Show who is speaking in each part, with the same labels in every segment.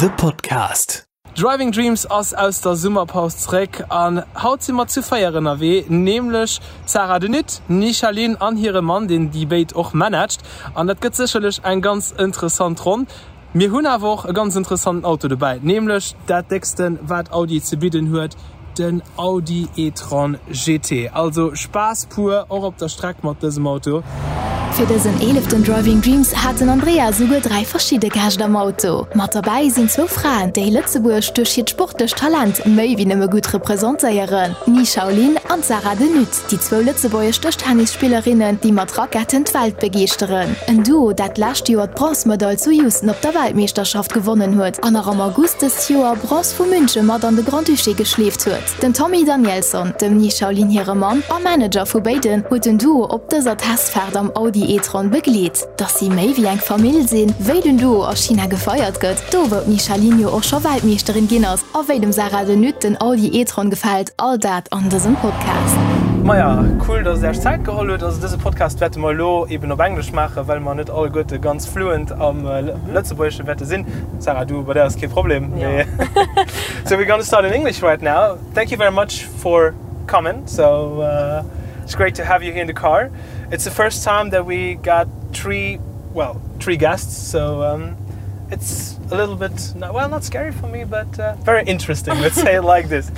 Speaker 1: de Podcast.
Speaker 2: Driving Dreams ass aus der Summerpausreck an Hautzimmer zu feieren aW, nämlichlech Sarah Denit, Nichalin an hire Mann den Debate och managt, an dat gët sicherlech ein ganz interessant Ron. Mir hunn awoch e ganz interessanten Auto dabei, nämlichlech dat Dexten wat Audi ze bieden huet, den Audi e-tron GT. Also Spaß pur auch op der Strack mat diesem Auto.
Speaker 3: Für dessen 11. Driving Dreams hatten Andrea sogar drei verschiedene Gage am Auto. Mat dabei sind zwei Frauen, die Lützeburg durch ihr sportliches Talent mehr wie immer gut repräsentieren. Nie Shaolin und Sarah Denüt, die zwei Lützeburger Tischtennisspielerinnen, die mit Rocketen die Welt begeistern. Ein Duo, das letztes Jahr die Bronzemedaille zu Houston auf der Weltmeisterschaft gewonnen hat und auch am August des Jahr Bronze von München mit an der Grand Duché geschläft hat. Den Tommy Danielson, dem Nie Shaolin ihrem Mann und Manager von beiden, hat ein Duo auf dieser Testfahrt am Audi die E-Tron begleet, dats sie méi wie eng Famill sinn, wéi den du aus China gefeiert gëtt, do wot Michalinio och scho Waldmeesterin ginnners, a wéi dem Sarah de Nüten all die E-Tron gefalt, all dat an dessen Podcast.
Speaker 2: Maja, cool, dass er Zeit geholt dass diese Podcast Wette mal lo eben auf Englisch mache, weil man nicht alle Götte ganz fluent am äh, letztebäische Wette sind. Sarah, du, bei der ist kein Problem. Yeah. so we're gonna start in English right now. Thank you very much for coming. So uh, it's great to have you here in the car. It's the first time that we got three, well, three guests. So um, it's a little bit no- well not scary for me but uh, very interesting let's say it like this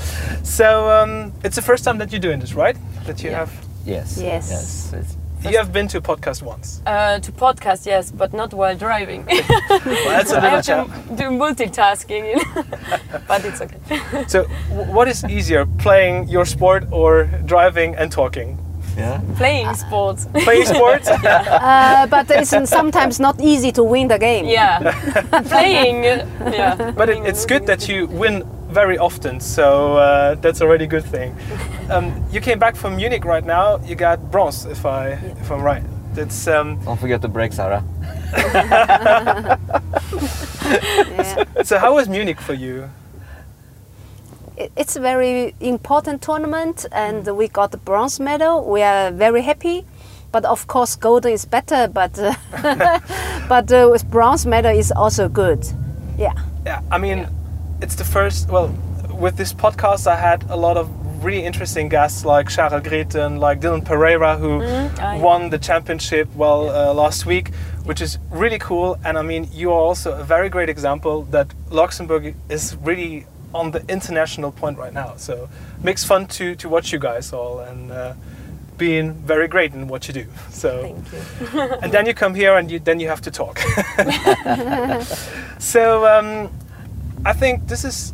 Speaker 2: so um, it's the first time that you're doing this right that you yeah. have
Speaker 4: Yes.
Speaker 5: Yes.
Speaker 4: Yes. It's,
Speaker 2: you have been to a podcast once
Speaker 5: Uh, to podcast, yes, but not while driving.
Speaker 2: well, that's a
Speaker 5: I
Speaker 2: little
Speaker 5: have to
Speaker 2: challenge.
Speaker 5: do multitasking, you know? but it's okay.
Speaker 2: so w- what is easier playing your sport or driving and talking
Speaker 4: yeah.
Speaker 2: Ah.
Speaker 5: Playing sports.
Speaker 2: playing sport
Speaker 6: Uh, but it's sometimes not easy to win the game.
Speaker 5: yeah. Playing. uh, Yeah.
Speaker 2: but it, it's good that you win very often so uh, that's already a good thing um, you came back from Munich right now you got bronze if I if I'm right that's um,
Speaker 4: Don't forget the break, Sarah.
Speaker 6: Yeah.
Speaker 2: so how was Munich for you
Speaker 6: It- It's a very important tournament, and we got the bronze medal. We are very happy, but of course gold is better. But uh, but uh, with bronze medal is also good. Yeah.
Speaker 2: yeah i mean it's the first well with this podcast i had a lot of really interesting guests like Charles Greten like Dylan Pereira who
Speaker 5: Ah, yeah.
Speaker 2: won the championship well uh, last week which is really cool and I mean you are also a very great example that Luxembourg is really on the international point right now so makes fun to to watch you guys all and uh, being very great in what you do so
Speaker 5: Thank you.
Speaker 2: and then you come here and you, then you have to talk. so um, I think this is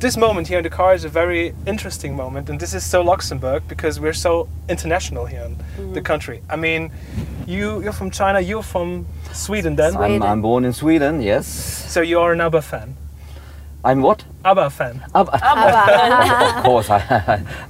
Speaker 2: this moment here in the car is a very interesting moment, and this is so Luxembourg because we're so international here in mm-hmm. the country. I mean, you you're from China, you're from Sweden, then, Sweden.
Speaker 4: I'm,
Speaker 6: Sweden.
Speaker 4: I'm born in Sweden, yes.
Speaker 2: so you're an ABBA fan.
Speaker 4: I'm what?
Speaker 2: ABBA fan.
Speaker 4: Abba.
Speaker 6: Abba.
Speaker 4: of course, I,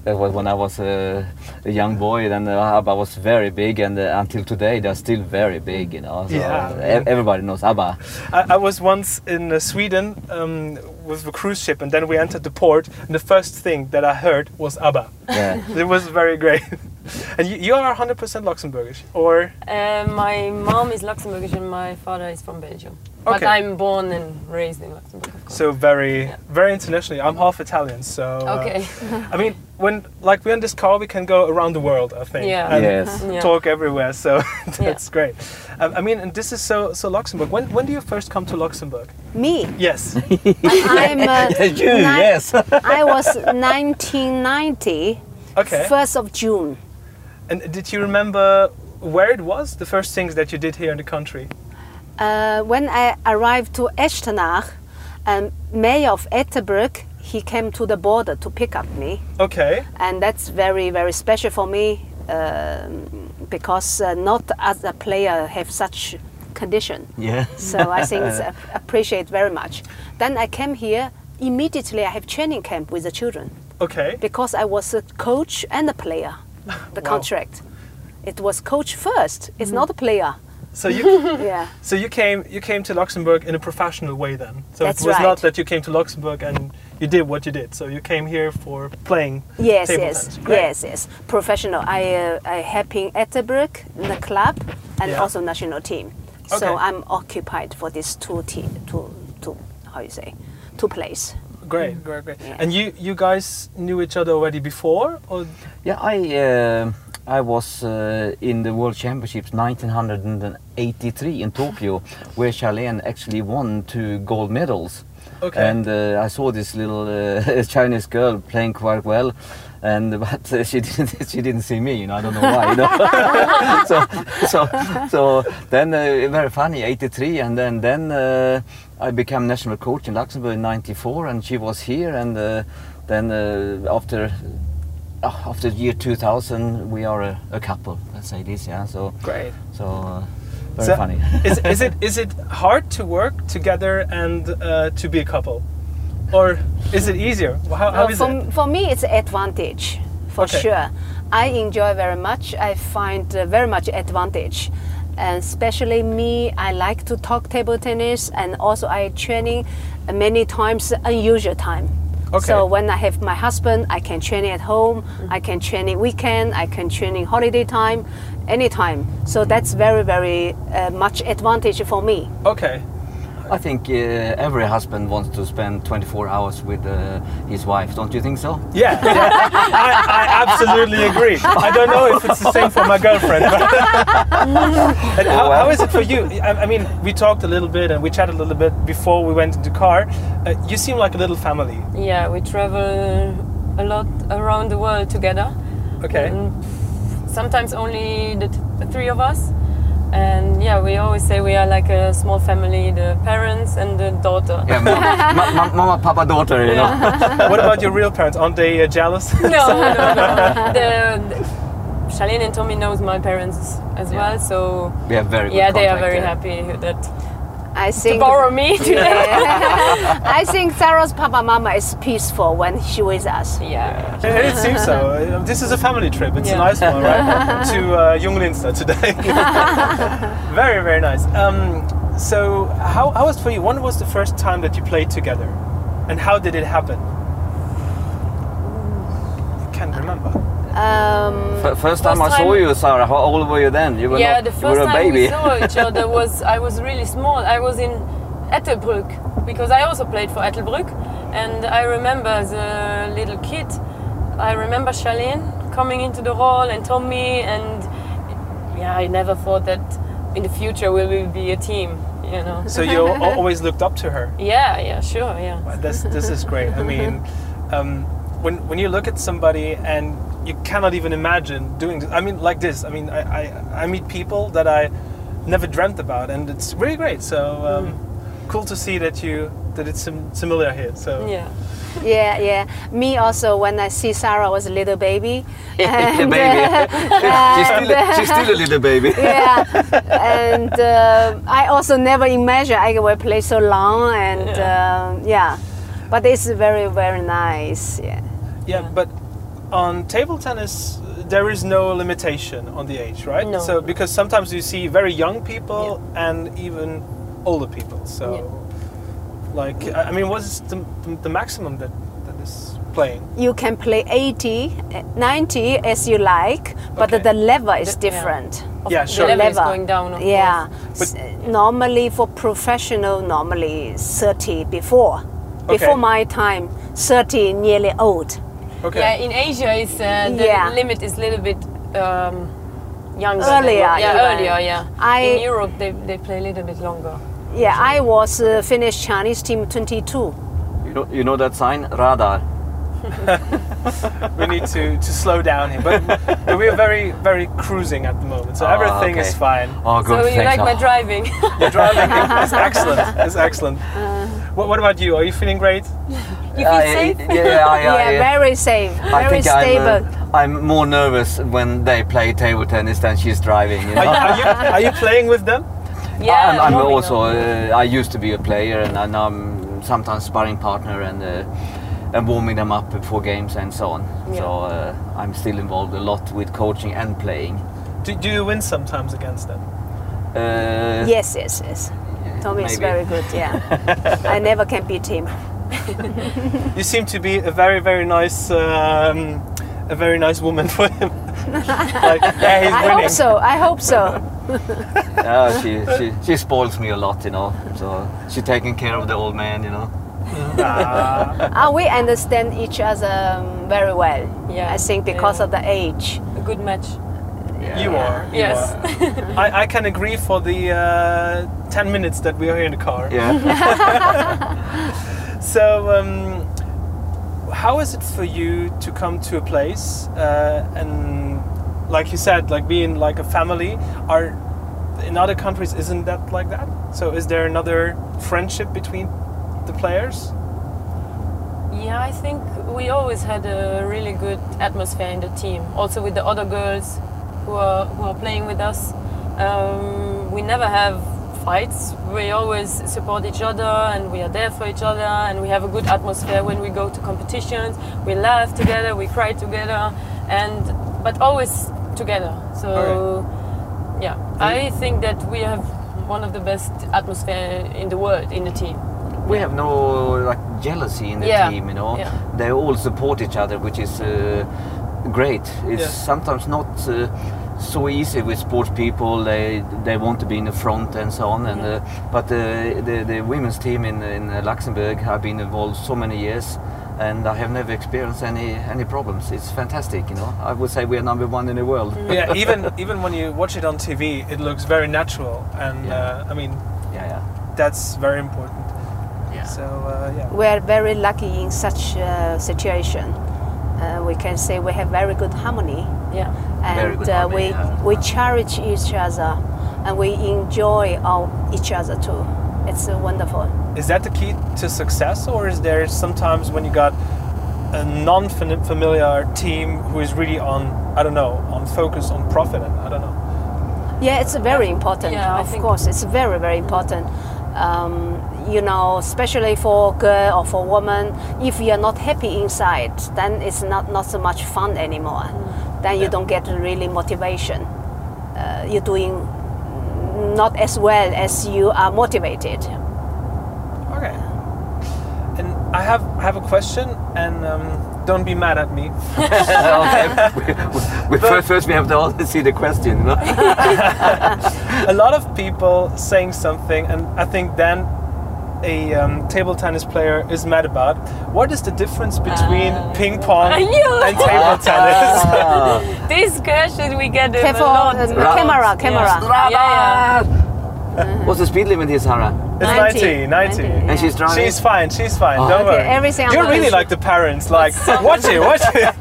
Speaker 4: that was when I was uh, a young boy. Then uh, Abba was very big, and uh, until today they're still very big. You know, so
Speaker 2: Yeah.
Speaker 4: ev- everybody knows Abba.
Speaker 2: I, I was once in uh, Sweden um, with a cruise ship, and then we entered the port, and the first thing that I heard was ABBA.
Speaker 4: Yeah.
Speaker 2: it was very great. and you, you are 100% Luxembourgish, or
Speaker 5: Uh, my mom is Luxembourgish and my father is from Belgium. But
Speaker 2: Okay.
Speaker 5: I'm born and raised in Luxembourg, of course.
Speaker 2: so very very internationally i'm half italian so
Speaker 5: okay.
Speaker 2: uh, i mean when like we're in this car we can go around the world i think
Speaker 5: Yeah.
Speaker 2: and
Speaker 4: yes.
Speaker 5: Yeah.
Speaker 2: talk everywhere so that's great um, i mean and this is so so luxembourg when when do you first come to luxembourg
Speaker 6: Me.
Speaker 2: yes
Speaker 6: I'm. Uh,
Speaker 4: you,
Speaker 6: nine-
Speaker 4: yes.
Speaker 6: I was 1990.
Speaker 2: okay
Speaker 6: First of June.
Speaker 2: and did you remember where it was the first things that you did here in the country
Speaker 6: Uh, when I arrived to Eschtenach, um, mayor of Etterbrück, he came to the border to pick up me.
Speaker 2: okay
Speaker 6: and that's very very special for me um, because uh, not other player have such condition
Speaker 4: Yeah.
Speaker 6: so i think it's a- appreciate very much then i came here immediately i have training camp with the children
Speaker 2: okay
Speaker 6: because i was a coach and a player the
Speaker 2: Wow.
Speaker 6: contract it was coach first it's not a player
Speaker 2: so you
Speaker 6: yeah
Speaker 2: so you came you came to luxembourg in a professional way then so
Speaker 6: That's
Speaker 2: it was
Speaker 6: right.
Speaker 2: not that you came to luxembourg and you did what you did so you came here for playing
Speaker 6: Yes,
Speaker 2: table
Speaker 6: yes,
Speaker 2: tennis. Great.
Speaker 6: yes, yes. Professional. I uh, I helping Etterbrück in the club and
Speaker 2: Yeah.
Speaker 6: also national team.
Speaker 2: Okay.
Speaker 6: So I'm occupied for these two team two two how you say to place.
Speaker 2: Great, great, great.
Speaker 6: Yeah.
Speaker 2: And you, you guys knew each other already before? Or
Speaker 4: Yeah, I uh, I was uh, in the World Championships 1983 in Tokyo, where Charlene actually won two gold medals.
Speaker 2: Okay.
Speaker 4: And uh, I saw this little uh, Chinese girl playing quite well, and but uh, she didn't she didn't see me. You know, I don't know why. You know? so so so then uh, very funny 83, and then then uh, I became national coach in Luxembourg in 94, and she was here, and uh, then uh, after uh, after year 2000 we are a, a couple let's say this yeah so
Speaker 2: great.
Speaker 4: so uh, very
Speaker 2: So-
Speaker 4: so, funny
Speaker 2: is, is it is it hard to work together and uh, to be a couple, or is it easier? How, how
Speaker 6: Uh,
Speaker 2: is
Speaker 6: for,
Speaker 2: it?
Speaker 6: for me, it's advantage for
Speaker 2: Okay.
Speaker 6: okay. sure. I enjoy very much. I find uh, very much advantage, and especially me. I like to talk table tennis, and also I training many times unusual time.
Speaker 2: Okay.
Speaker 6: So when I have my husband, I can train at home. Mm-hmm. I can train at weekend. I can train in holiday time, anytime. So that's very very uh, much advantage for me.
Speaker 2: Okay,
Speaker 4: i think uh, every husband wants to spend 24 hours with uh, his wife don't you think so
Speaker 2: yeah, yeah. I, I absolutely agree. I don't know if it's the same for my girlfriend. But and how, how is it for you? I, I mean, we talked a little bit and we chatted a little bit before we went into car. Uh, you seem like a little family.
Speaker 5: Yeah, we travel a lot around the world together.
Speaker 2: Okay.
Speaker 5: And sometimes only the t- the three of us. And yeah, we always say we are like a small family the parents and the daughter.
Speaker 4: yeah mama, ma- ma- mama papa daughter you know
Speaker 2: what about your real parents? Aren't they uh, jealous?
Speaker 5: no, no, no. The, the, Charlene and Tommy knows my parents as yeah. well, so
Speaker 4: we have very good
Speaker 5: yeah, they are
Speaker 4: contact,
Speaker 5: very
Speaker 4: yeah.
Speaker 5: happy that
Speaker 6: I
Speaker 5: to
Speaker 6: think
Speaker 5: borrow me today.
Speaker 6: I think Sarah's papa mama is peaceful when she with us.
Speaker 5: Yeah.
Speaker 2: Yeah, It seems so. Uh, This is a family trip. It's yeah. a
Speaker 5: Yeah.
Speaker 2: nice one, right? to uh, Junglinster today. very, very nice. Um, so, how, how was it for you? When was the first time that you played together? And how did it happen? I can't remember.
Speaker 6: Um,
Speaker 4: F- first time
Speaker 5: First
Speaker 4: i saw
Speaker 5: time-
Speaker 4: you sarah how old were you then you were
Speaker 5: yeah,
Speaker 4: not,
Speaker 5: the
Speaker 4: you were
Speaker 5: first
Speaker 4: a
Speaker 5: time
Speaker 4: baby
Speaker 5: we saw each other was I was really small. I was in Ettelbrück because I also played for Ettelbrück, and I remember as a little kid, I remember Charlene coming into the role and Tommy, and yeah, I never thought that in the future we will be a team. You know.
Speaker 2: So, you al- always looked up to her.
Speaker 5: Yeah, yeah, sure, yeah.
Speaker 2: Wow, This, this is great. I mean, um, when, when you look at somebody and you cannot even imagine doing this, I mean, like this, I mean, I, I, I meet people that I never dreamt about, and it's really great. So, um, cool to see that you that it's sim- similar here. So,
Speaker 5: Yeah.
Speaker 6: yeah, yeah. Me also when I see Sarah was a little baby. uh,
Speaker 4: baby she's, still, a- she's still a little baby
Speaker 6: Yeah, and uh, I also never imagine I will play so long and yeah. Um, yeah, but it's very very nice. Yeah.
Speaker 2: yeah, but on table tennis, there is no limitation on the age, right?
Speaker 5: No.
Speaker 2: So, because sometimes you see very young people and even older people. So, like, I I mean, what's the, the maximum that, that is playing?
Speaker 6: You can play 80, eh, 90 as you like, but
Speaker 2: Okay.
Speaker 6: the level is
Speaker 5: The- yeah.
Speaker 6: different.
Speaker 2: Yeah,
Speaker 5: the
Speaker 2: sure.
Speaker 5: level is
Speaker 6: level.
Speaker 5: going down. Of
Speaker 6: yeah
Speaker 2: course.
Speaker 6: S- eh, normally for professional normally 30 before before my time 30 nearly old
Speaker 2: Okay.
Speaker 5: Yeah, in Asia, it's, uh, the
Speaker 6: Yeah.
Speaker 5: limit is a little bit um, younger.
Speaker 6: Earlier,
Speaker 5: than, yeah,
Speaker 6: even.
Speaker 5: earlier, yeah.
Speaker 6: I-
Speaker 5: in Europe, they, they play a little bit longer.
Speaker 6: yeah i was uh, finnish chinese team 22
Speaker 4: you know you know that sign radar
Speaker 2: we need to, to slow down here, but, but we're very very cruising at the moment, so
Speaker 4: Ah,
Speaker 2: everything is
Speaker 4: okay.
Speaker 2: fine.
Speaker 4: oh good
Speaker 5: so you
Speaker 4: thanks.
Speaker 5: like my driving?
Speaker 2: The driving is excellent. It's excellent.
Speaker 5: Uh.
Speaker 2: What, what about you? Are you feeling great?
Speaker 5: you feel
Speaker 4: Ah, Yeah,
Speaker 5: safe?
Speaker 4: yeah, yeah,
Speaker 6: yeah,
Speaker 4: yeah, yeah.
Speaker 6: very safe
Speaker 4: I
Speaker 6: very
Speaker 4: think
Speaker 6: stable
Speaker 4: I'm, uh, I'm more nervous when they play table tennis than she's driving. You
Speaker 2: Are,
Speaker 4: know?
Speaker 2: are, you, are you playing with them?
Speaker 5: Yeah,
Speaker 4: I'm, I'm
Speaker 5: no, we
Speaker 4: also.
Speaker 5: know.
Speaker 4: Uh, I used to be a player, and, and I'm sometimes sparring partner and uh, and warming them up before games and so on. Yeah. So uh, I'm still involved a lot with coaching and playing.
Speaker 2: Do, do you win sometimes against them?
Speaker 4: Uh,
Speaker 6: yes yes yes tommy is
Speaker 4: maybe.
Speaker 6: very good yeah i never can beat him
Speaker 2: You seem to be a very very nice um, a very nice woman for him. like, yeah, he's
Speaker 6: i
Speaker 2: winning.
Speaker 6: hope so i hope so
Speaker 4: yeah, she, she, she spoils me a lot, you know. So she's taking care of the old man, you know.
Speaker 2: Ah,
Speaker 6: Ah, we understand each other um, very well.
Speaker 5: Yeah,
Speaker 6: I think because
Speaker 5: yeah.
Speaker 6: of the age.
Speaker 5: A good match.
Speaker 2: you are. You
Speaker 5: Yes.
Speaker 2: Are. I, I can agree for the uh, 10 minutes that we are here in the car.
Speaker 4: Yeah.
Speaker 2: So, um, how is it for you to come to a place uh, and, like you said, like being like a family? Are in other countries isn't that like that? So, is there another friendship between the players?
Speaker 5: Yeah, I think we always had a really good atmosphere in the team. Also with the other girls who are who are playing with us, um, we never have fights. We always support each other and we are there for each other and we have a good atmosphere when we go to competitions. We laugh together, we cry together, and but always together. So yeah, I think that we have one of the best atmosphere in the world in the team.
Speaker 4: we have no like jealousy in the
Speaker 5: Yeah.
Speaker 4: team, you know.
Speaker 5: Yeah.
Speaker 4: They all support each other, which is uh, great. It's
Speaker 2: Yeah.
Speaker 4: sometimes not uh, so easy with sports people. They they want to be in the front and so on. And uh, but the, the the women's team in in uh, Luxembourg have been involved so many years. And I have never experienced any any problems. It's fantastic, you know. I would say we are number one in the world.
Speaker 5: Mm.
Speaker 2: yeah, even even when you watch it on TV, it looks very natural, and yeah.
Speaker 4: Yeah.
Speaker 2: uh, I mean
Speaker 4: Yeah, yeah.
Speaker 2: that's very important. Yeah. So uh, yeah.
Speaker 6: We are very lucky in such uh, situation. Uh, we can say we have very good harmony.
Speaker 5: Yeah.
Speaker 4: Very
Speaker 6: and
Speaker 4: good
Speaker 6: uh,
Speaker 4: harmony,
Speaker 6: we
Speaker 4: yeah.
Speaker 6: we cherish each other and we enjoy our, each other too. It's uh, wonderful.
Speaker 2: is that the key to success or is there sometimes when you got a non-familiar team who is really on i don't know on focus on profit and i don't know
Speaker 6: Yeah, it's very important.
Speaker 5: Yeah, I
Speaker 6: of
Speaker 5: think-
Speaker 6: course, it's very very important. Um, you know, especially for girl or for woman, if you are not happy inside, then it's not not so much fun anymore. Then you
Speaker 2: Yeah.
Speaker 6: don't get really motivation. Uh, you're doing not as well as you are motivated.
Speaker 2: okay and i have I have a question and um, don't be mad at me
Speaker 4: okay. we, we, we, first, first we have to to see the question, you know.
Speaker 2: a lot of people saying something and i think then a um, table tennis player is mad about what is the difference between
Speaker 5: Uh,
Speaker 2: ping pong
Speaker 5: I knew.
Speaker 2: and table tennis
Speaker 4: Ah.
Speaker 5: This question we get them
Speaker 6: Careful,
Speaker 5: a lot.
Speaker 6: uh, camera, camera.
Speaker 5: Yeah, yeah.
Speaker 4: What's the speed limit here, Sarah?
Speaker 2: It's
Speaker 6: 90,
Speaker 2: 90, 90.
Speaker 6: 90, yeah.
Speaker 4: And she's driving.
Speaker 2: She's fine, she's fine,
Speaker 4: Oh.
Speaker 2: don't
Speaker 6: Okay,
Speaker 2: worry.
Speaker 6: everything
Speaker 2: You're
Speaker 6: about
Speaker 2: really
Speaker 6: it.
Speaker 2: like the parents, like, watch it, watch it.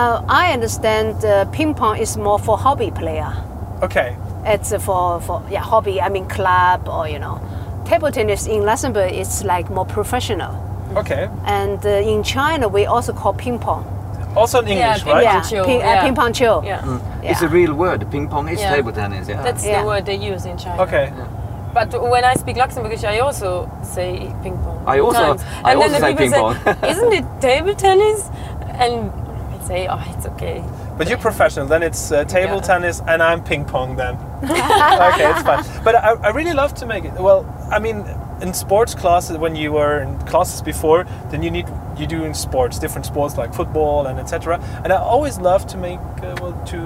Speaker 6: Uh, I understand uh, ping pong is more for hobby player.
Speaker 2: Okay,
Speaker 6: It's uh, for, for yeah hobby. I mean club or you know, table tennis in Luxembourg is like more professional.
Speaker 2: okay.
Speaker 6: And uh, in China we also call ping pong.
Speaker 2: Also in English,
Speaker 5: ping-
Speaker 2: right?
Speaker 6: yeah,
Speaker 5: Chill,
Speaker 6: ping,
Speaker 5: yeah.
Speaker 6: Uh, ping pong chill.
Speaker 5: yeah.
Speaker 4: It's a real word. Ping pong is
Speaker 5: Yeah.
Speaker 4: table tennis. Yeah.
Speaker 5: That's
Speaker 6: Yeah.
Speaker 5: the word they use in China.
Speaker 2: Okay,
Speaker 5: But when I speak Luxembourgish, I also say ping pong.
Speaker 4: I also-
Speaker 5: times.
Speaker 4: I
Speaker 5: and
Speaker 4: also
Speaker 5: then the
Speaker 4: say
Speaker 5: people
Speaker 4: ping
Speaker 5: say, Isn't it table tennis? And I say, oh, it's okay.
Speaker 2: but you're professional, then it's uh, table
Speaker 5: Yeah.
Speaker 2: tennis and I'm ping pong then. okay, it's fine. But I, I really love to make it. Well, I mean, in sports classes, when you were in classes before, then you need you do in sports, different sports like football and etc. And I always love to make uh, well to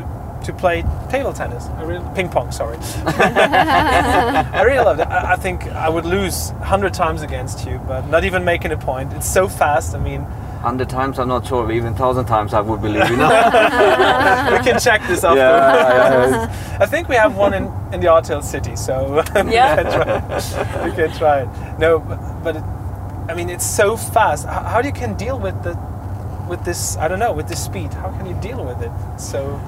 Speaker 2: to play table tennis. I really ping pong, sorry. I really loved it. I, I think I would lose hundred times against you, but not even making a point. It's so fast. I mean,
Speaker 4: Hundred times, I'm not sure. Even thousand times, I would believe. You know. yeah,
Speaker 2: we can check this after.
Speaker 4: yeah,
Speaker 2: I think we have one in, in the Artel city, so
Speaker 5: Yeah.
Speaker 2: you, can try, you can try it. No, but, but it, I mean, it's so fast. How, how do you can deal with the with this? I don't know with this speed. How can you deal with it? So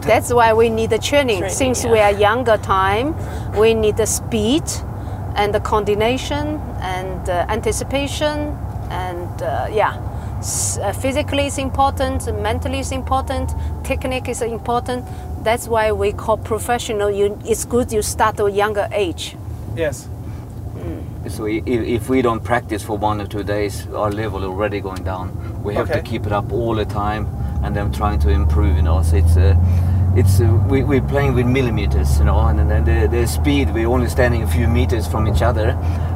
Speaker 6: That's why we need the training.
Speaker 5: Training,
Speaker 6: Since
Speaker 5: yeah.
Speaker 6: we are younger time, we need the speed and the coordination and uh, anticipation and uh, yeah. S- uh, physically is important, mentally is important, technique is important. That's why we call professional. You, it's good you start at a younger age.
Speaker 2: yes,
Speaker 4: yeah. So if, if we don't practice for one or two days, our level already going down. We have
Speaker 2: Okay.
Speaker 4: to keep it up all the time, and then trying to improve. You know, so it's. Uh, it's uh, we, we're playing with millimeters you know and then the, the speed we're only standing a few meters from each other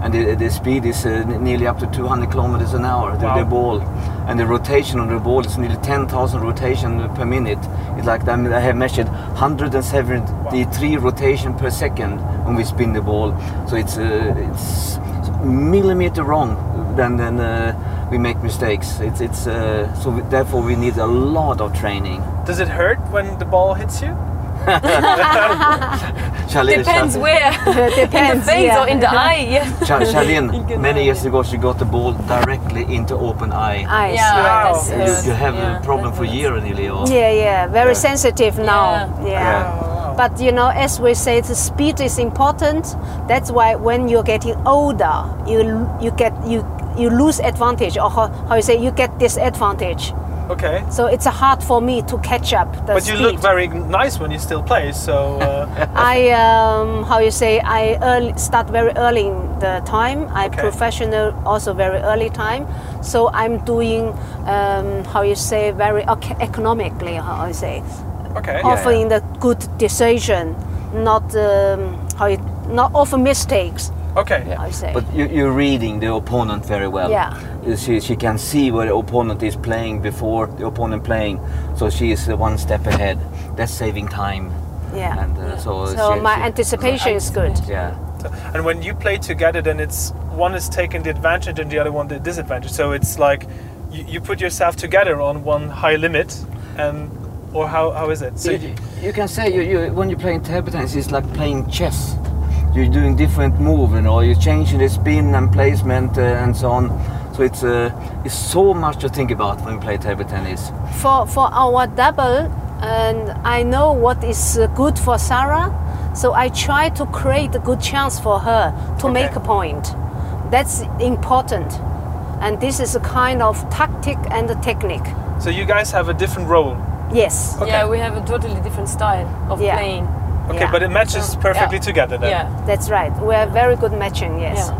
Speaker 4: and the, the speed is uh, n- nearly up to 200 kilometers an hour the,
Speaker 2: Wow.
Speaker 4: the ball and the rotation on the ball is nearly 10,000 rotation per minute it's like I, mean, I have measured 173 rotation per second when we spin the ball so it's uh, it's millimeter wrong then then uh, we make mistakes it's it's uh, so we, therefore we need a lot of training
Speaker 2: Does it hurt when the ball hits you?
Speaker 4: Charlie-
Speaker 5: Depends where. in the
Speaker 6: depends,
Speaker 5: face
Speaker 6: yeah.
Speaker 5: or in the eye. Yeah.
Speaker 4: Cha-
Speaker 5: You
Speaker 4: Charlene,
Speaker 5: can
Speaker 4: many
Speaker 5: have
Speaker 4: years ago, she got the ball directly into open eye.
Speaker 6: eyes.
Speaker 5: Yeah,
Speaker 2: Wow.
Speaker 5: that's-
Speaker 4: And
Speaker 5: that's-
Speaker 4: you, you have
Speaker 5: yeah,
Speaker 4: a problem
Speaker 5: that
Speaker 4: for a
Speaker 5: hurts.
Speaker 4: year nearly. Or,
Speaker 6: Yeah, yeah, very sensitive now.
Speaker 5: Yeah.
Speaker 6: Yeah.
Speaker 2: wow.
Speaker 6: But you know, as we say, the speed is important. That's why when you're getting older, you you get you you lose advantage, or how, how you say you get disadvantage.
Speaker 2: Okay.
Speaker 6: So it's uh, hard for me to catch up. The
Speaker 2: But you
Speaker 6: speed.
Speaker 2: look very nice when you still play, so uh,
Speaker 6: I um, how you say I early, start very early in the time. I
Speaker 2: Okay.
Speaker 6: professional also very early time. So I'm doing um, how you say very ec- economically how I say
Speaker 2: okay.
Speaker 4: Yeah.
Speaker 6: offering the good decision, not um, how you, not offer mistakes.
Speaker 2: Okay.
Speaker 6: I say.
Speaker 4: But you, you're reading the opponent very well.
Speaker 6: Yeah.
Speaker 4: Uh, She, she can see where the opponent is playing before the opponent playing. So she is uh, one step ahead. That's saving time.
Speaker 6: Yeah.
Speaker 4: And, uh, so
Speaker 6: so
Speaker 4: she,
Speaker 6: my
Speaker 4: she,
Speaker 6: anticipation is good.
Speaker 4: Yeah.
Speaker 2: And when you play together, then it's one is taking the advantage and the other one the disadvantage. So it's like you, you put yourself together on one high limit, and or how, how is it? So
Speaker 4: you,
Speaker 2: you,
Speaker 4: you can say you, you when you're playing table tennis, it's like playing chess. You're doing different move, you know. You're changing the spin and placement uh, and so on. So it's uh, it's so much to think about when you play table tennis.
Speaker 6: for for our double and I know what is uh, good for Sarah so I try to create a good chance for her
Speaker 2: Okay.
Speaker 6: to okay. make a point that's important and this is a kind of tactic and a technique
Speaker 2: so you guys have a different role.
Speaker 6: yes
Speaker 2: Okay.
Speaker 5: Yeah, we have a totally different style of
Speaker 6: Yeah.
Speaker 5: playing.
Speaker 2: Okay,
Speaker 6: Yeah.
Speaker 2: but it matches
Speaker 5: Yeah.
Speaker 2: perfectly together then.
Speaker 5: Yeah.
Speaker 6: that's right we are very good matching yes
Speaker 5: Yeah.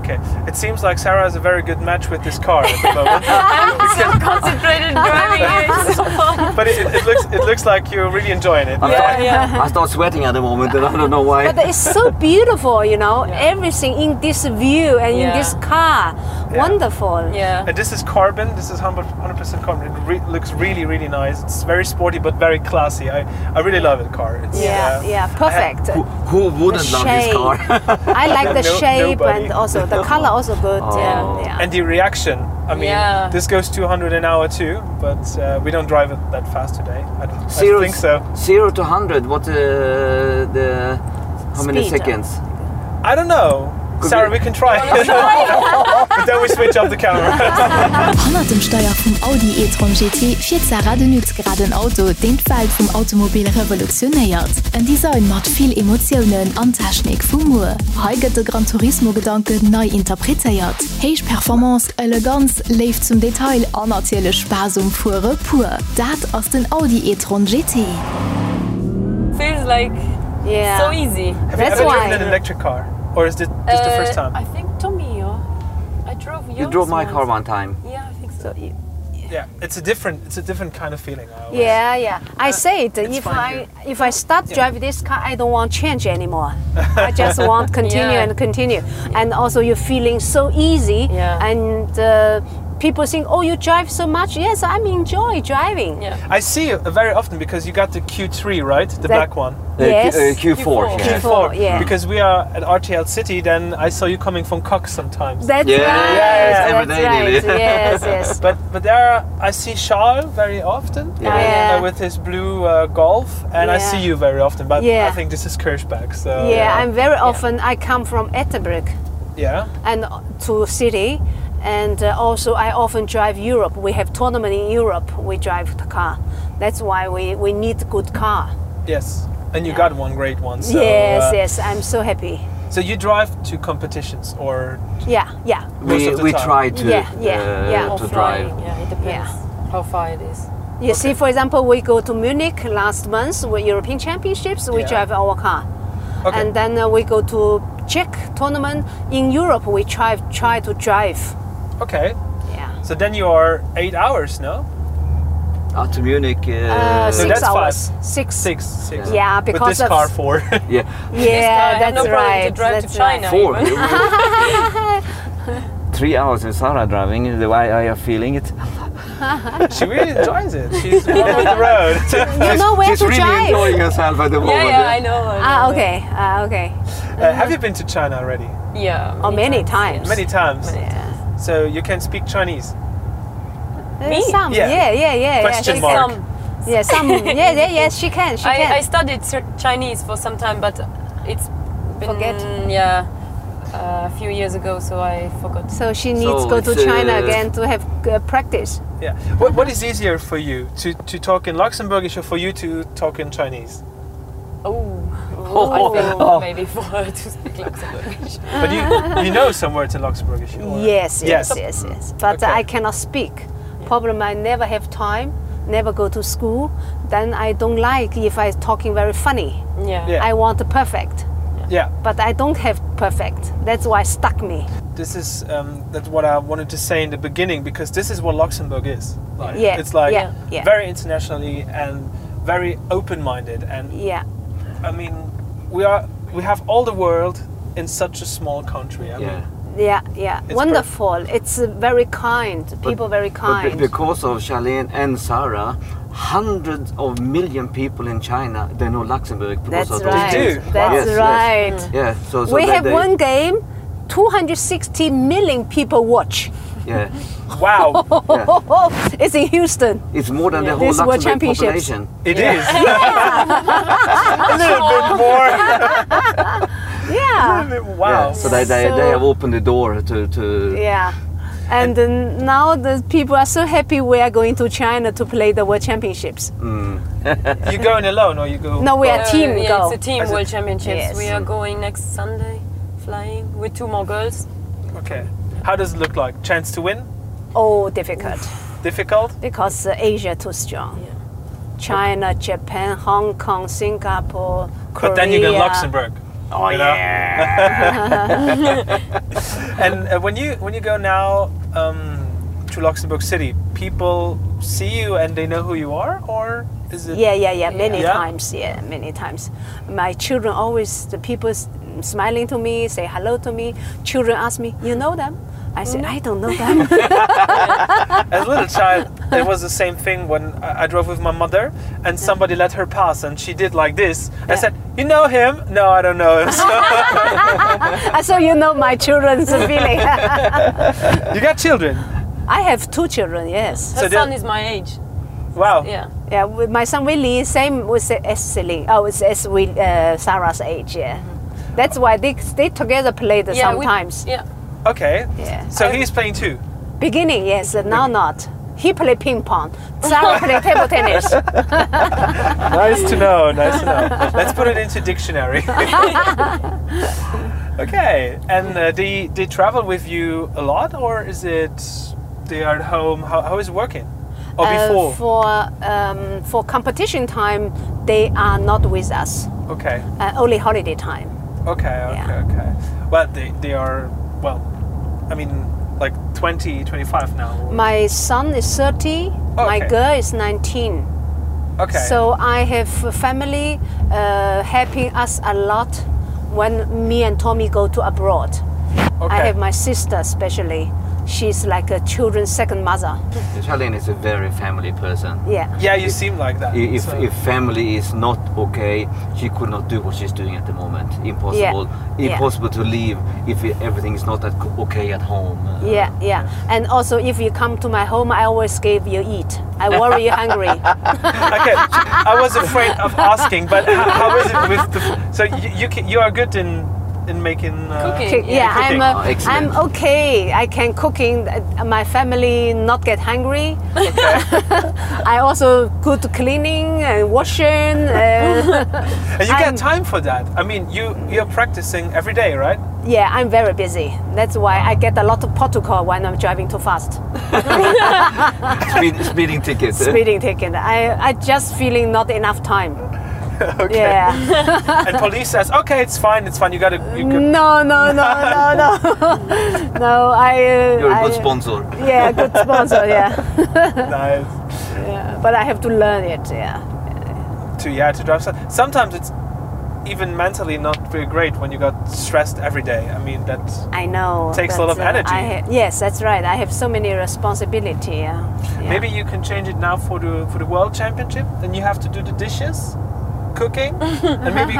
Speaker 2: Okay. It seems like Sarah has a very good match with this car at the moment.
Speaker 5: I'm so concentrated driving. It's so fun.
Speaker 2: but it, it, it looks it looks like you're really enjoying it.
Speaker 4: I
Speaker 5: Yeah,
Speaker 4: start,
Speaker 5: yeah.
Speaker 4: I start sweating at the moment, and I don't know why.
Speaker 6: Uh-huh. but it's so beautiful you know
Speaker 5: Yeah.
Speaker 6: yeah. everything in this view and yeah. in
Speaker 5: Yeah.
Speaker 6: this car yeah. wonderful
Speaker 5: Yeah.
Speaker 2: And this is carbon. This is 100% carbon. It re- looks really, really nice. It's very sporty, but very classy. I, I really love the car. It's,
Speaker 6: yeah,
Speaker 2: uh,
Speaker 6: yeah perfect
Speaker 4: who, who wouldn't
Speaker 6: The
Speaker 4: love this
Speaker 6: shape.
Speaker 4: car?
Speaker 6: I like the
Speaker 2: No-
Speaker 6: shape
Speaker 2: nobody.
Speaker 6: and also the color also good
Speaker 5: Oh.
Speaker 6: yeah, yeah.
Speaker 2: And the reaction. I mean,
Speaker 5: Yeah.
Speaker 2: this goes 200 an hour too, but uh, we don't drive it that fast today. I don't, I don't think so.
Speaker 4: Zero to hundred. What uh, the how many
Speaker 6: Speed.
Speaker 4: seconds?
Speaker 2: I don't know.
Speaker 4: Could
Speaker 2: Sarah,
Speaker 4: we-
Speaker 2: we can try. but then we switch off the camera.
Speaker 3: Hanner dem Steuer vum Audi e-tron GT fir Zara den Nutzgraden Auto denfall vum Automobil revolutionéiert. En Design mat vill Emotionen an Technik vum Mu. Heuget de Gran Turismogedanke neu interpretéiert. Héich Performance, Eleganz leif zum Detail anerziele Spasum fuhre pur. Dat ass den Audi e-tron GT.
Speaker 5: Feels like
Speaker 6: yeah.
Speaker 5: so easy.
Speaker 2: Have you
Speaker 6: That's
Speaker 2: ever driven
Speaker 6: why.
Speaker 2: an electric car? Or is this, this the first
Speaker 5: Uh, I
Speaker 2: time?
Speaker 5: think Tommy, or I drove yours.
Speaker 4: You drove my car
Speaker 5: once.
Speaker 4: one time.
Speaker 5: Yeah, I think so.
Speaker 6: So you-
Speaker 2: Yeah, it's a different, it's a different kind of feeling. I always-
Speaker 6: Yeah, yeah. I say it. If
Speaker 2: fine
Speaker 6: I
Speaker 2: here.
Speaker 6: if I start yeah. driving this car, I don't want change anymore. I just want continue
Speaker 5: Yeah.
Speaker 6: yeah. and continue. And also, you're feeling so easy.
Speaker 5: Yeah.
Speaker 6: And uh, people think, oh, you drive so much. Yes, I'm enjoy driving.
Speaker 5: Yeah.
Speaker 2: I see it very often because you got the Q3, right? The black one.
Speaker 4: Uh, Q-
Speaker 6: Yes.
Speaker 4: uh, Q4.
Speaker 5: Q4.
Speaker 4: Yeah.
Speaker 6: Q4. Before, yeah.
Speaker 2: Because we are at RTL City, then I saw you coming from Cox sometimes.
Speaker 6: That's
Speaker 4: Yeah,
Speaker 6: right.
Speaker 4: yeah, yeah.
Speaker 6: That's
Speaker 4: Every day,
Speaker 6: right.
Speaker 4: nearly.
Speaker 6: yes, yes.
Speaker 2: But but there are, I see Charles very often
Speaker 4: Yeah.
Speaker 6: Ah, Yeah.
Speaker 2: uh, with his blue uh, golf, and I see
Speaker 6: Yeah.
Speaker 2: you very often. But I
Speaker 6: Yeah.
Speaker 2: think this is Kirschberg. So
Speaker 6: Yeah, I'm very often. I come from Edinburgh
Speaker 2: yeah.
Speaker 6: and to city, and uh, also I often drive Europe. We have tournament in Europe. We drive the car. That's why we, we need good car.
Speaker 2: Yes, and you got one great one. So,
Speaker 6: yes,
Speaker 2: uh,
Speaker 6: yes, I'm so happy.
Speaker 2: So you drive to competitions or
Speaker 6: Yeah, yeah,
Speaker 2: Most
Speaker 4: We,
Speaker 2: of the
Speaker 4: we
Speaker 2: time.
Speaker 4: try to
Speaker 6: Yeah, yeah,
Speaker 4: uh,
Speaker 6: yeah.
Speaker 5: Or
Speaker 4: to
Speaker 5: flying.
Speaker 4: drive.
Speaker 5: Yeah, it depends how far it is.
Speaker 6: You see, for example, we go to Munich last month with European Championships. We
Speaker 2: Yeah.
Speaker 6: drive our car,
Speaker 2: Okay.
Speaker 6: and then uh, we go to Czech tournament in Europe. We try try to drive.
Speaker 2: okay.
Speaker 6: Yeah,
Speaker 2: So then you are eight hours, no?
Speaker 4: Ah, to Munich. Uh,
Speaker 6: Uh,
Speaker 2: So
Speaker 6: six
Speaker 2: that's
Speaker 6: hours.
Speaker 2: fast.
Speaker 6: Six.
Speaker 2: Six, six.
Speaker 6: Yeah,
Speaker 2: With this
Speaker 6: because of-
Speaker 2: car for.
Speaker 4: yeah.
Speaker 6: Yeah,
Speaker 5: I had
Speaker 6: that's
Speaker 5: no problem
Speaker 6: right.
Speaker 5: to drive
Speaker 6: that's
Speaker 5: to China.
Speaker 6: Right.
Speaker 4: Four.
Speaker 5: even.
Speaker 4: Three hours with Sarah driving. The way I am feeling it.
Speaker 2: she really enjoys it. She's on the road. Uh,
Speaker 6: You know where
Speaker 4: She's
Speaker 6: to
Speaker 4: really
Speaker 6: drive.
Speaker 4: enjoying herself at the moment.
Speaker 5: Yeah, yeah, I know. I
Speaker 6: Ah,
Speaker 5: know.
Speaker 6: okay. Ah, okay.
Speaker 2: Uh, have you been to China already?
Speaker 5: Yeah.
Speaker 6: Oh, many times.
Speaker 2: Many times.
Speaker 5: Many
Speaker 6: Yeah.
Speaker 2: So you can speak Chinese.
Speaker 6: Uh,
Speaker 5: Me?
Speaker 6: Some.
Speaker 2: Yeah.
Speaker 6: Yeah, yeah, yeah. yeah.
Speaker 2: Question
Speaker 6: She-
Speaker 2: mark.
Speaker 5: Some,
Speaker 6: Yeah, some. Yeah, yeah, yes, she can. She can.
Speaker 5: I, I studied cer- Chinese for some time, but it's been
Speaker 6: Forget.
Speaker 5: yeah uh, a few years ago, so I forgot.
Speaker 6: so she needs to
Speaker 4: So
Speaker 6: go to
Speaker 4: it's,
Speaker 6: China
Speaker 4: uh,
Speaker 6: again to have uh, practice.
Speaker 2: Yeah. What, what is easier for you to, to talk in Luxembourgish or for you to talk in Chinese?
Speaker 5: Oh,
Speaker 4: Oh,
Speaker 5: I think
Speaker 4: oh.
Speaker 5: maybe for her to speak Luxembourgish.
Speaker 2: But you, you know some words in Luxembourgish. or-
Speaker 6: Yes, yes,
Speaker 2: Yes.
Speaker 6: yes, yes. But
Speaker 2: Okay.
Speaker 6: I cannot speak. Problem, I never have time. Never go to school. Then I don't like if I talking very funny.
Speaker 5: yeah.
Speaker 2: Yeah.
Speaker 6: I want perfect,
Speaker 2: Yeah.
Speaker 6: but I don't have perfect. That's why stuck me.
Speaker 2: This is um, that's what I wanted to say in the beginning because this is what Luxembourg is. Like,
Speaker 6: Yeah,
Speaker 2: It's like
Speaker 6: yeah, yeah.
Speaker 2: very internationally and very open-minded and
Speaker 6: Yeah.
Speaker 2: I mean, we are we have all the world in such a small country. I
Speaker 4: Yeah.
Speaker 2: mean,
Speaker 6: Yeah, yeah,
Speaker 2: It's
Speaker 6: wonderful. It's uh, very kind. People very
Speaker 4: But
Speaker 6: kind.
Speaker 4: be- because of Charlene and Sarah, hundreds of million people in China they know Luxembourg. Because
Speaker 6: That's
Speaker 4: of those
Speaker 6: right.
Speaker 2: do.
Speaker 4: things. yes,
Speaker 6: That's right.
Speaker 4: Yes. Yeah. So, so
Speaker 6: we
Speaker 4: they,
Speaker 6: have
Speaker 4: they,
Speaker 6: one game, 260 million people watch. Oh,
Speaker 4: Yeah.
Speaker 2: wow,
Speaker 6: it's in Houston.
Speaker 4: It's more than yeah. the whole
Speaker 6: This World
Speaker 4: Luxembourg
Speaker 6: Championships.
Speaker 4: population.
Speaker 2: it is a little bit more.
Speaker 6: Yeah,
Speaker 2: wow.
Speaker 4: Yeah, so they, they,
Speaker 6: So-
Speaker 4: they have opened the door to, to
Speaker 6: yeah. And then now the people are so happy we are going to China to play the World Championships.
Speaker 2: Mm. You going alone or you go?
Speaker 6: No, we are
Speaker 5: Uh,
Speaker 6: team
Speaker 5: yeah,
Speaker 6: go.
Speaker 5: It's a team
Speaker 2: As a-
Speaker 5: World Championships.
Speaker 6: Yes.
Speaker 5: We are going next Sunday, flying with two more girls.
Speaker 2: Okay. How does it look like? Chance to win?
Speaker 6: oh, difficult
Speaker 2: Difficult?
Speaker 6: because uh, Asia too strong. China, Japan, Hong Kong, Singapore, Korea.
Speaker 2: But then you go Luxembourg.
Speaker 4: Oh,
Speaker 2: You know? And uh, when you when you go now um, to Luxembourg City, people see you and they know who you are, or is it?
Speaker 6: Yeah, yeah, yeah. Many
Speaker 2: Yeah?
Speaker 6: yeah. times. Yeah, many times. My children always the people s- smiling to me, say hello to me. Children ask me, "You know them?" I say, "I don't know them."
Speaker 2: As a little child, it was the same thing when I I drove with my mother, and somebody let her pass, and she did like this. I said, "You know him? No, I don't know him." So,
Speaker 6: I say, "You know my children's feeling."
Speaker 2: you got children?
Speaker 6: I have two children. Yes.
Speaker 5: Her
Speaker 2: So
Speaker 5: so son
Speaker 2: they're-
Speaker 5: is my age.
Speaker 2: Wow.
Speaker 5: Yeah.
Speaker 6: Yeah. With my son Willie, same with as Celine. Oh, it's as with uh, Sarah's age. Yeah. That's why they they together played
Speaker 5: yeah we-
Speaker 6: sometimes.
Speaker 5: yeah.
Speaker 2: Okay.
Speaker 6: Yeah.
Speaker 2: So
Speaker 5: I-
Speaker 2: he's playing too.
Speaker 6: Beginning, yes. Now not. He play ping pong. Sarah play table tennis.
Speaker 2: nice to know. Nice to know. Let's put it into dictionary. okay. And uh, they they travel with you a lot, or is it they are at home? How, how is it working? Or
Speaker 6: Uh,
Speaker 2: before?
Speaker 6: for um, for competition time they are not with us
Speaker 2: okay.
Speaker 6: uh, only holiday time
Speaker 2: Okay. Okay.
Speaker 6: Yeah.
Speaker 2: Okay. Well, they they are well. I mean, like 20, 25 now.
Speaker 6: my son is 30 my
Speaker 2: Okay.
Speaker 6: girl is 19
Speaker 2: Okay.
Speaker 6: so i have a family uh, helping us a lot when me and tommy go to abroad
Speaker 2: okay.
Speaker 6: i have my sister especially she's like a children's second mother
Speaker 4: Charlene is a very family person.
Speaker 6: yeah
Speaker 2: yeah, you seem like that.
Speaker 4: I- If,
Speaker 2: so-
Speaker 4: if family is not okay, she could not do what she's doing at the moment. Impossible.
Speaker 6: Yeah.
Speaker 4: Impossible to leave if i- everything is not at co- okay at home. Uh,
Speaker 6: yeah yeah and also if you come to my home i always give you eat i worry you're hungry
Speaker 2: okay, I was afraid of asking, but how, how is it with the? So you you, can, you are good in in making uh,
Speaker 5: Cooking.
Speaker 6: Okay, yeah, I'm,
Speaker 2: cooking.
Speaker 6: uh,
Speaker 4: Oh, excellent.
Speaker 6: I'm okay. I can cooking. uh, My family not get hungry. I also good cleaning and washing. Uh,
Speaker 2: and you get
Speaker 6: I'm-
Speaker 2: time for that. I mean, you you're practicing every day, right?
Speaker 6: yeah, I'm very busy. That's why I get a lot of protocol when I'm driving too fast.
Speaker 4: Speed, speeding tickets.
Speaker 6: Speeding ticket. I, I just feeling not enough time.
Speaker 2: Okay.
Speaker 6: Yeah.
Speaker 2: And police says, okay, it's fine, it's fine. You gotta. You go.
Speaker 6: No, no, no, no, no. no, I. Uh,
Speaker 4: You're a good
Speaker 5: uh,
Speaker 6: I-
Speaker 4: sponsor.
Speaker 5: Mm.
Speaker 6: Yeah, good sponsor. Yeah.
Speaker 2: Nice.
Speaker 6: yeah. But I have to learn it. Yeah.
Speaker 2: to yeah to drive. So- Sometimes it's even mentally not very great when you got stressed every day. I mean that's
Speaker 6: I know.
Speaker 2: Takes a lot
Speaker 6: but, uh,
Speaker 2: of energy.
Speaker 6: I ha- yes, that's right. I have so many responsibility. Yeah. yeah.
Speaker 2: Maybe you can change it now for the for the world championship. Then you have to do the dishes, cooking, and maybe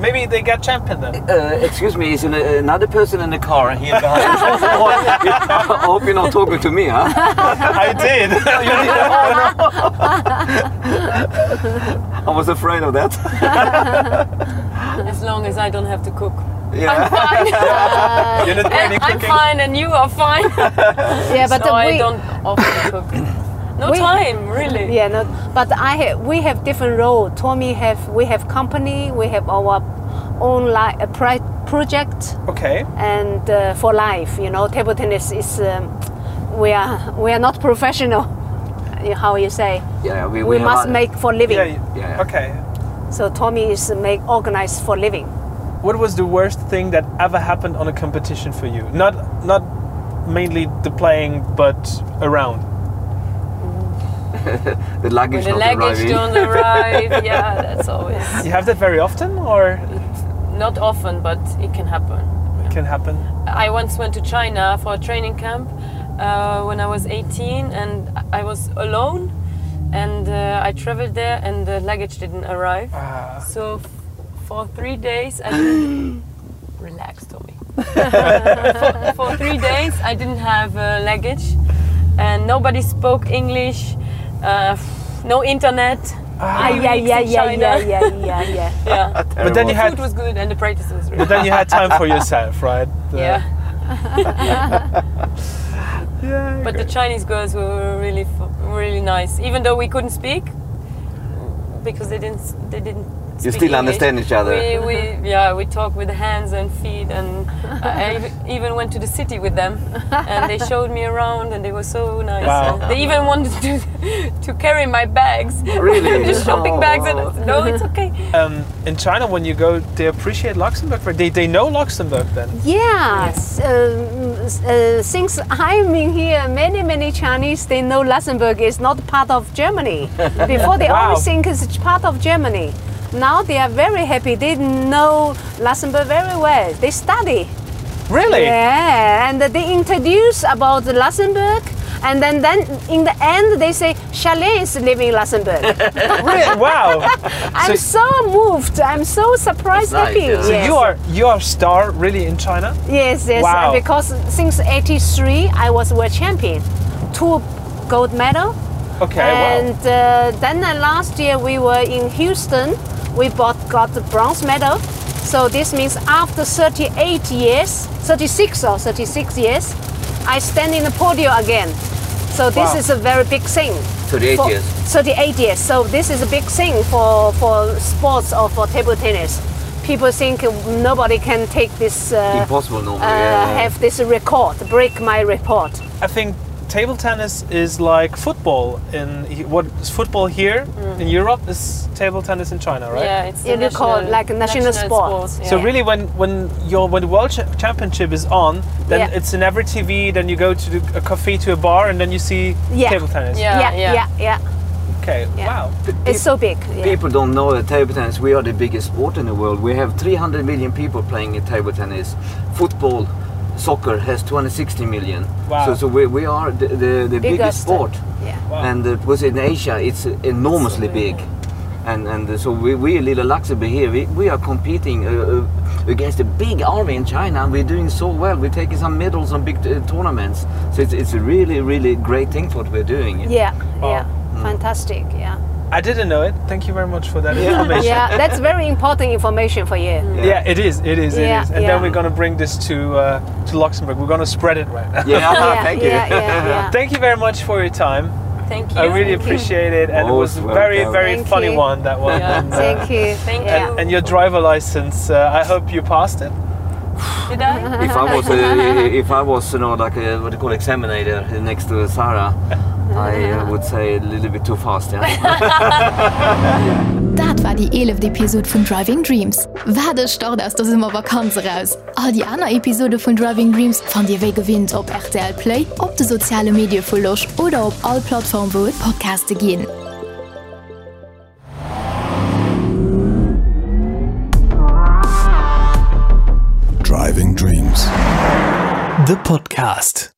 Speaker 2: maybe they get champion then.
Speaker 4: Uh, excuse me, is an, another person in the car here behind? I hope you're not talking to me, huh?
Speaker 2: I did.
Speaker 4: I was afraid of that.
Speaker 5: As long as I don't have to cook. Eh,
Speaker 4: Yeah.
Speaker 2: You're not doing any
Speaker 5: Uh, I'm
Speaker 2: cooking.
Speaker 5: fine and you are fine.
Speaker 6: Yeah, but
Speaker 5: no,
Speaker 6: uh,
Speaker 5: I
Speaker 6: we,
Speaker 5: don't often cook. No
Speaker 6: We-
Speaker 5: time, really.
Speaker 6: Yeah, no, but I ha- we have different role. Tommy have we have company, we have our own li- uh, pri- project,
Speaker 2: Okay.
Speaker 6: and uh, for life, you know, table tennis is um, we are we are not professional. uh, How you say?
Speaker 4: Yeah, we,
Speaker 6: We,
Speaker 4: we
Speaker 6: must
Speaker 4: have,
Speaker 6: make for living.
Speaker 2: Yeah, you-
Speaker 4: Yeah.
Speaker 2: Okay.
Speaker 6: So Tommy is uh, make organize for living.
Speaker 2: What was the worst thing that ever happened on a competition for you? Not not mainly the playing, but around.
Speaker 4: the luggage
Speaker 5: When the
Speaker 4: not
Speaker 5: luggage
Speaker 4: arriving.
Speaker 5: don't arrive, yeah, that's always
Speaker 2: You have that very often, or
Speaker 5: not often, but it can happen.
Speaker 2: it can happen.
Speaker 5: I once went to China for a training camp uh, when I was 18 and I was alone and uh, I traveled there and the luggage didn't arrive.
Speaker 2: Ah.
Speaker 5: So f- for three days I relaxed on me. for, for three days I didn't have uh, luggage and nobody spoke English, uh, no internet.
Speaker 6: Ah,
Speaker 5: Three
Speaker 6: yeah,
Speaker 5: weeks
Speaker 6: yeah,
Speaker 5: in
Speaker 6: yeah, yeah,
Speaker 5: China.
Speaker 6: yeah, yeah, yeah.
Speaker 5: yeah.
Speaker 2: But then you
Speaker 5: The food
Speaker 2: had
Speaker 5: was good and the practice was really
Speaker 2: but
Speaker 5: good.
Speaker 2: then you had time for yourself, right? The-
Speaker 5: Yeah.
Speaker 2: Yeah.
Speaker 5: But the Chinese girls were really, fu- really nice, even though we couldn't speak because they didn't, s- they didn't.
Speaker 4: You
Speaker 5: speak
Speaker 4: still
Speaker 5: English.
Speaker 4: understand each other.
Speaker 5: We, we, yeah, we talk with hands and feet, and I ev- even went to the city with them, and they showed me around, and they were so nice.
Speaker 2: Wow.
Speaker 5: And They even wanted to, to carry my bags,
Speaker 4: Really?
Speaker 5: the shopping bags, and I
Speaker 4: Oh.
Speaker 5: said, no, it's okay.
Speaker 2: um, in China, when you go, they appreciate Luxembourg. right? They, they know Luxembourg then.
Speaker 6: Yes, um, s- uh, since I'm in here, many, many Chinese, they know Luxembourg is not part of Germany. Before they
Speaker 2: Wow.
Speaker 6: always think it's part of Germany. Now they are very happy. They know Luxembourg very well. They study.
Speaker 2: Really?
Speaker 6: Yeah, and they introduce about Luxembourg. And then, then in the end, they say, Chalet is living in Luxembourg.
Speaker 2: Really? Wow.
Speaker 6: I'm so, moved. I'm so surprised.
Speaker 4: nice,
Speaker 6: happy.
Speaker 4: yeah. So
Speaker 2: So
Speaker 6: yes.
Speaker 2: you are you are star really in China?
Speaker 6: Yes, yes.
Speaker 2: Wow.
Speaker 6: and Because since '83, I was world champion, two gold medal,
Speaker 2: Okay.
Speaker 6: and uh, then uh, last year we were in Houston. We both got the bronze medal. So this means after 38 years, 36 or 36 years, I stand in the podium again. So this
Speaker 2: Wow.
Speaker 6: is a very big thing.
Speaker 4: 38
Speaker 6: for-
Speaker 4: years.
Speaker 6: 38 years. So this is a big thing for, for sports or for table tennis. People think nobody can take this uh,
Speaker 4: Impossible normally.
Speaker 6: uh,
Speaker 4: yeah.
Speaker 6: have this record, break my record.
Speaker 2: Wow. I think table tennis is like football in what is football here
Speaker 6: Mm.
Speaker 2: in Europe is table tennis in China, right?
Speaker 5: Yeah, it's the
Speaker 6: You look all
Speaker 5: national-
Speaker 6: like a national sport.
Speaker 5: sport.
Speaker 2: So
Speaker 5: yeah.
Speaker 2: really, when when your when the world Cha- championship is on, then
Speaker 6: Yeah.
Speaker 2: it's in every TV. Then you go to the, a cafe to a bar, and then you see
Speaker 6: Yeah.
Speaker 2: table tennis.
Speaker 5: Yeah,
Speaker 6: yeah, yeah. yeah.
Speaker 2: Okay.
Speaker 6: Yeah.
Speaker 2: Wow.
Speaker 6: It's so big. Yeah.
Speaker 4: People don't know that table tennis, we are the biggest sport in the world. We have 300 million people playing in table tennis. Football, soccer has 260 million.
Speaker 2: Wow.
Speaker 4: So, so we, we are the, the, the biggest, biggest sport.
Speaker 6: Yeah.
Speaker 2: Wow.
Speaker 4: And it was in Asia, it's enormously big. And, and uh, so we, we Little Luxembourg here, we, we are competing uh, uh, against a big army in China and we're doing so well. We're taking some medals on big uh, tournaments. So it's, it's a really, really great thing what we're doing.
Speaker 6: Yeah.
Speaker 2: Wow.
Speaker 6: Yeah.
Speaker 4: Oh.
Speaker 6: Fantastic. Yeah.
Speaker 2: I didn't know it. Thank you very much for that information.
Speaker 6: yeah. That's very important information for you.
Speaker 2: Yeah. it is. It is.
Speaker 6: Yeah,
Speaker 2: it is. And
Speaker 6: yeah.
Speaker 2: then we're going to bring this to uh, to Luxembourg. We're going to spread it right now.
Speaker 4: Yeah, uh-huh,
Speaker 6: Yeah,
Speaker 4: Ah, thank you.
Speaker 6: yeah, yeah, yeah.
Speaker 2: Thank you very much for your time.
Speaker 5: Thank you.
Speaker 2: I really appreciate it, and it was a
Speaker 4: Most
Speaker 2: very,
Speaker 4: welcome.
Speaker 2: very
Speaker 6: Thank
Speaker 2: funny
Speaker 6: you.
Speaker 2: one that one.
Speaker 5: Yeah.
Speaker 2: And, uh,
Speaker 6: Thank you.
Speaker 5: Thank
Speaker 6: yeah.
Speaker 5: you.
Speaker 2: And your driver license. Uh, I hope you passed it.
Speaker 5: Did I?
Speaker 4: if I was, uh, if I was, you know, like a, what do you call, examiner uh, next to Sarah, I uh, would say a little bit too fast. Yeah.
Speaker 3: Dat war die 11. Episode vun Driving Dreams. Wade start ass dats immer Vakanze raus. All die aner Episode vun Driving Dreams fan Dir wéi gewinnt op RTL Play, op de soziale Medie vuloch oder op all Plattform wo et Podcaste ginn.
Speaker 1: Driving Dreams.
Speaker 7: The Podcast.